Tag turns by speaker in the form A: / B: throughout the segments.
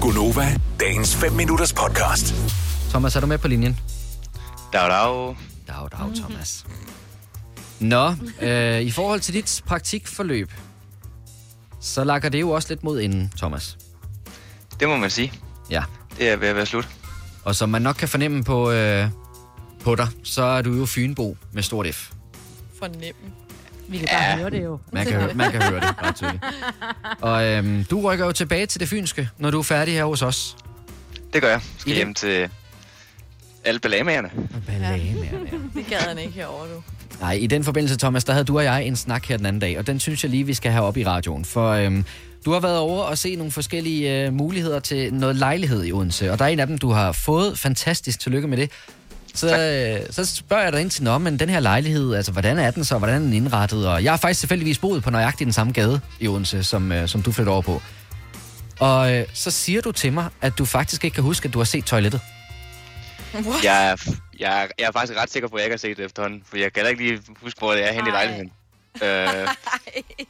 A: Gunova, dagens 5 minutters podcast.
B: Thomas, er du med på linjen?
C: Dag, dag.
B: Dag, dag,
D: Mhm.
B: Thomas. Nå, øh, i forhold til dit praktikforløb, så lakker det jo også lidt mod inden, Thomas.
C: Det må man sige.
B: Ja,
C: Det er ved at være slut.
B: og som man nok kan fornemme på, øh, på dig, så er du jo Fynbo med stort F.
E: fornemme.
D: Vi kan bare høre det jo.
B: Man kan, høre- man kan høre det ret tydeligt. Og øhm, du rykker jo tilbage til det fynske, når du er færdig her hos os.
C: Det gør jeg. Skal
B: I det?
C: hjem til alle balamagerne.
B: Ballamerne.
E: Det gad han ikke herovre, du.
B: Nej, i den forbindelse, Thomas, der havde du og jeg en snak her den anden dag, og den synes jeg lige, vi skal have op i radioen. For øhm, du har været over og se nogle forskellige øh, muligheder til noget lejlighed i Odense, og der er en af dem, du har fået. Fantastisk, tillykke med det. Så, øh, så spørger jeg dig ind til, nå, men den her lejlighed, altså, hvordan er den så, hvordan er den indrettet? Og jeg har faktisk tilfældigvis boet på nøjagtigt den samme gade i Odense, som, øh, som du flytter over på. Og øh, så siger du til mig, at du faktisk ikke kan huske, at du har set toilettet.
E: What? Ja.
C: Jeg er, f- jeg, er, jeg er faktisk ret sikker på, at jeg ikke har set det efterhånden, for jeg kan heller ikke lige huske, hvor det er henne i
D: Ej.
C: lejligheden. Øh,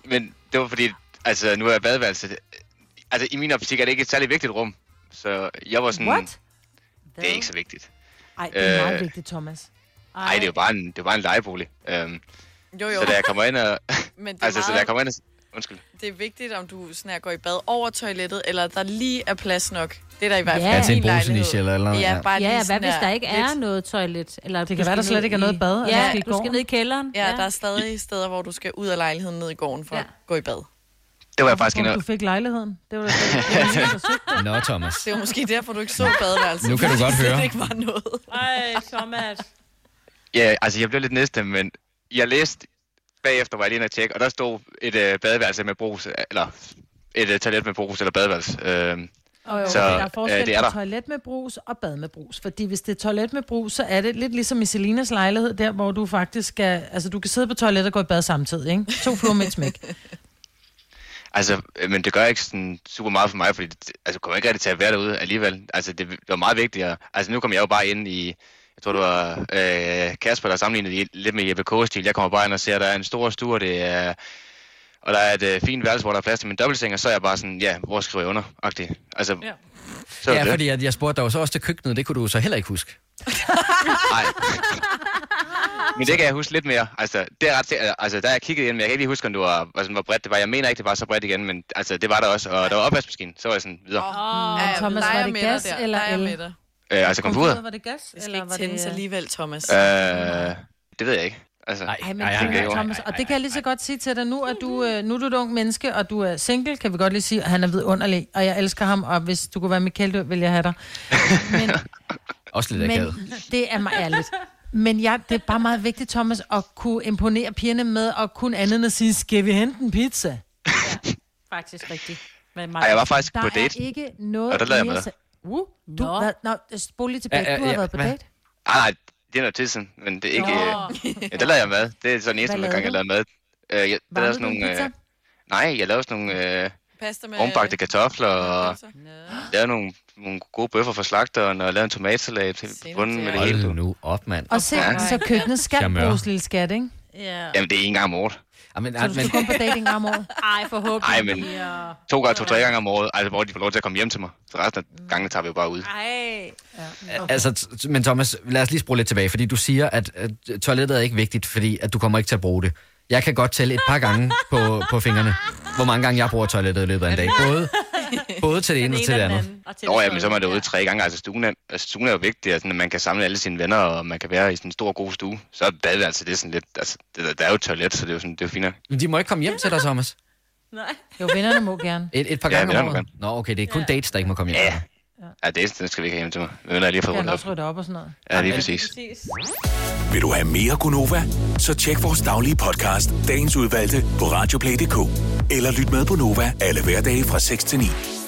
C: men det var fordi, altså nu er jeg badeværelset. Altså i min optik er det ikke et særlig vigtigt rum, så jeg var sådan,
D: What?
C: det er ikke så vigtigt.
D: Ej, det er meget
C: Øh.
D: vigtigt, Thomas.
C: Nej, det er jo bare en, det er bare en lejebolig. Øhm,
E: Jo, jo.
C: så da jeg kommer ind og...
E: Men det er,
C: altså, så da jeg
E: meget,
C: kommer ind og... Undskyld.
E: det er vigtigt, om du sådan her går i bad over toilettet, eller der lige er plads nok. Det er der i hvert
D: Ja.
E: fald
D: Ja, til
B: en
E: min lejlighed.
B: bruseniche eller- eller-
E: Ja,
B: ja.
E: bare lige
D: Ja, hvad
E: sådan
D: hvis
E: her
D: der ikke er
E: lidt-
D: noget toilet? Eller det
F: kan være, der slet ikke er noget bad, eller
D: Ja,
F: måske i
D: du altså, skal
F: gården.
D: ned i kælderen.
E: Ja, der er stadig steder, hvor du skal ud af lejligheden ned i gården for
D: Ja.
E: at gå i bad.
C: Det var jeg faktisk
F: Tror
C: inde
F: du,
C: og...
F: du fik lejligheden. Det var det. det var lige så sødt.
B: Nå, Thomas.
E: Det er jo måske derfor, du ikke så badeværelset.
B: Nu kan du
E: fordi
B: godt
E: der slet
B: høre.
E: ikke var noget.
F: Ej, Thomas.
C: Ja, altså jeg blev lidt nedstemt, men jeg læste bagefter, var jeg lige inde og tjekke, og der stod et øh, badeværelse med brus, eller et øh, toilet med brus eller badeværelse. Øh,
F: Og jo,
C: Så,
F: så, der er
C: øh,
F: forskel
C: det er
F: på
C: der.
F: toilet med brus og bad med brus. Fordi hvis det er toilet med brus, så er det lidt ligesom i Selinas lejlighed, der hvor du faktisk skal... Altså, du kan sidde på toilettet og gå i bad samtidig, ikke? To fluer med et smæk.
C: altså, øh, men det gør ikke sådan super meget for mig, fordi det, altså, kommer ikke rigtig til at være derude alligevel. Altså, det, det var meget vigtigt. Og, altså, nu kom jeg jo bare ind i, jeg tror, det var øh, Kasper, der sammenlignede det lidt med Jeppe K-stil. Jeg kommer bare ind og ser, at der er en stor stue, og det er... Og der er et øh, fint værelse, hvor der er plads til min dobbeltseng, og så er jeg bare sådan, ja, hvor skriver jeg under? -agtig. Altså,
F: Ja.
C: så er det.
B: Ja, fordi at jeg spurgte dig jo så også til køkkenet, det kunne du så heller ikke huske.
C: Nej. Men det kan jeg huske lidt mere. Altså, det er ret, til- altså der har jeg kigget ind, men jeg kan ikke lige huske, om det var, altså, hvor bredt det var. Jeg mener ikke, det var så bredt igen, men altså, det var der også. Og der var opvaskemaskinen, så var jeg sådan videre.
E: Åh,
F: Åh,
E: ja,
F: Thomas,
E: leger
F: var det
E: med
F: gas
E: dig der.
F: eller
E: Leger
F: el?
E: med dig.
C: Øh, altså komfuret.
F: Var det gas?
E: Det skal ikke tændes alligevel, Thomas.
C: Øh, det ved jeg ikke. Altså,
B: Nej,
F: Ej, men
B: nej,
F: Ej,
C: nej, nej,
F: Thomas, og det kan jeg lige så godt sige til dig nu, at du, øh, nu er du et ung menneske, og du er single, kan vi godt lige sige, at han er vidunderlig, og jeg elsker ham, og hvis du kunne være Michael, du- ville jeg have dig. Men,
B: Også lidt
F: men
B: akavet.
F: det er mig ærligt. Men jeg, det er bare meget vigtigt, Thomas, at kunne imponere pigerne med, og kun andet end at sige, skal vi hente en pizza?
D: Faktisk rigtigt. Men
C: Ej, jeg var faktisk
F: Der
C: på
F: er
C: date.
F: ikke noget...
C: Og der lader jeg med
F: mere
C: dig.
F: sa- Uh, du,
D: Nå.
F: hvad, nå, spol lige tilbage.
B: Ja, ja,
F: Du har
B: ja,
F: været på
B: hvad?
F: date.
C: Nej, Ah, nej, det er noget tid siden, men det er ikke... Øh, ja, der lavede jeg mad. Det er så den eneste
F: Hvad
C: gang, jeg
F: lavede
C: lavede mad. Øh, jeg, der
F: Varmede
C: lavede
F: du
C: sådan
F: en
C: nogle...
F: pizza?
C: Øh, nej, jeg lavede sådan nogle øh,
E: Pasta med...
C: ovenbagte kartofler, og
E: Nå.
C: lavede nogle, nogle gode bøffer fra slagteren, og lavede en tomatsalat helt på bunden med det hele.
B: Hold nu op, mand.
F: Og se,
C: Ja.
F: så køkkenet skal
B: Charmeur.
F: bruges, lille skat, ikke?
D: Ja.
C: Jamen, det er en gang om året.
B: Jamen,
F: Så du skal kun på date en gang om året.
D: Ej, forhåbentlig.
C: Ej, men-
D: Ja.
C: To gange, to-tre gange om året, altså, hvor de får lov til at komme hjem til mig. Så resten af gangene tager vi jo bare ud.
D: Ej.
B: altså, t- men Thomas, lad os lige spole lidt tilbage, fordi du siger, at, at toilettet er ikke vigtigt, fordi at du kommer ikke til at bruge det. Jeg kan godt tælle et par gange på, på fingrene, hvor mange gange jeg bruger toilettet i løbet af en dag. Både, både til det ene og til det andet.
C: Nå ja, men så er man derude tre gange. Altså, stuen er, altså, stuen er jo vigtig, altså, at man kan samle alle sine venner, og man kan være i sådan en stor, god stue. Så er badet, altså, det er sådan lidt... Altså, det, der, der er jo et toilet, så det er jo sådan, det er jo finere.
B: Men de må ikke komme hjem til dig, Thomas.
D: Nej.
F: Jo, vennerne må gerne.
B: Et, et par
C: Ja,
B: gange
C: det
B: om
C: må
B: året. Nå, okay, det er kun dates, der ikke må komme hjem.
C: Ja. Ja, det er sådan, skal vi ikke have hjem til mig. Men jeg har lige fået
F: Kan
C: rundt op.
F: også rydde op og sådan noget.
C: Ja, lige præcis.
A: Vil du have mere Gunova? Så tjek vores daglige podcast, dagens udvalgte, på radioplay.dk. Eller lyt med på Nova alle hverdage fra 6 til 9.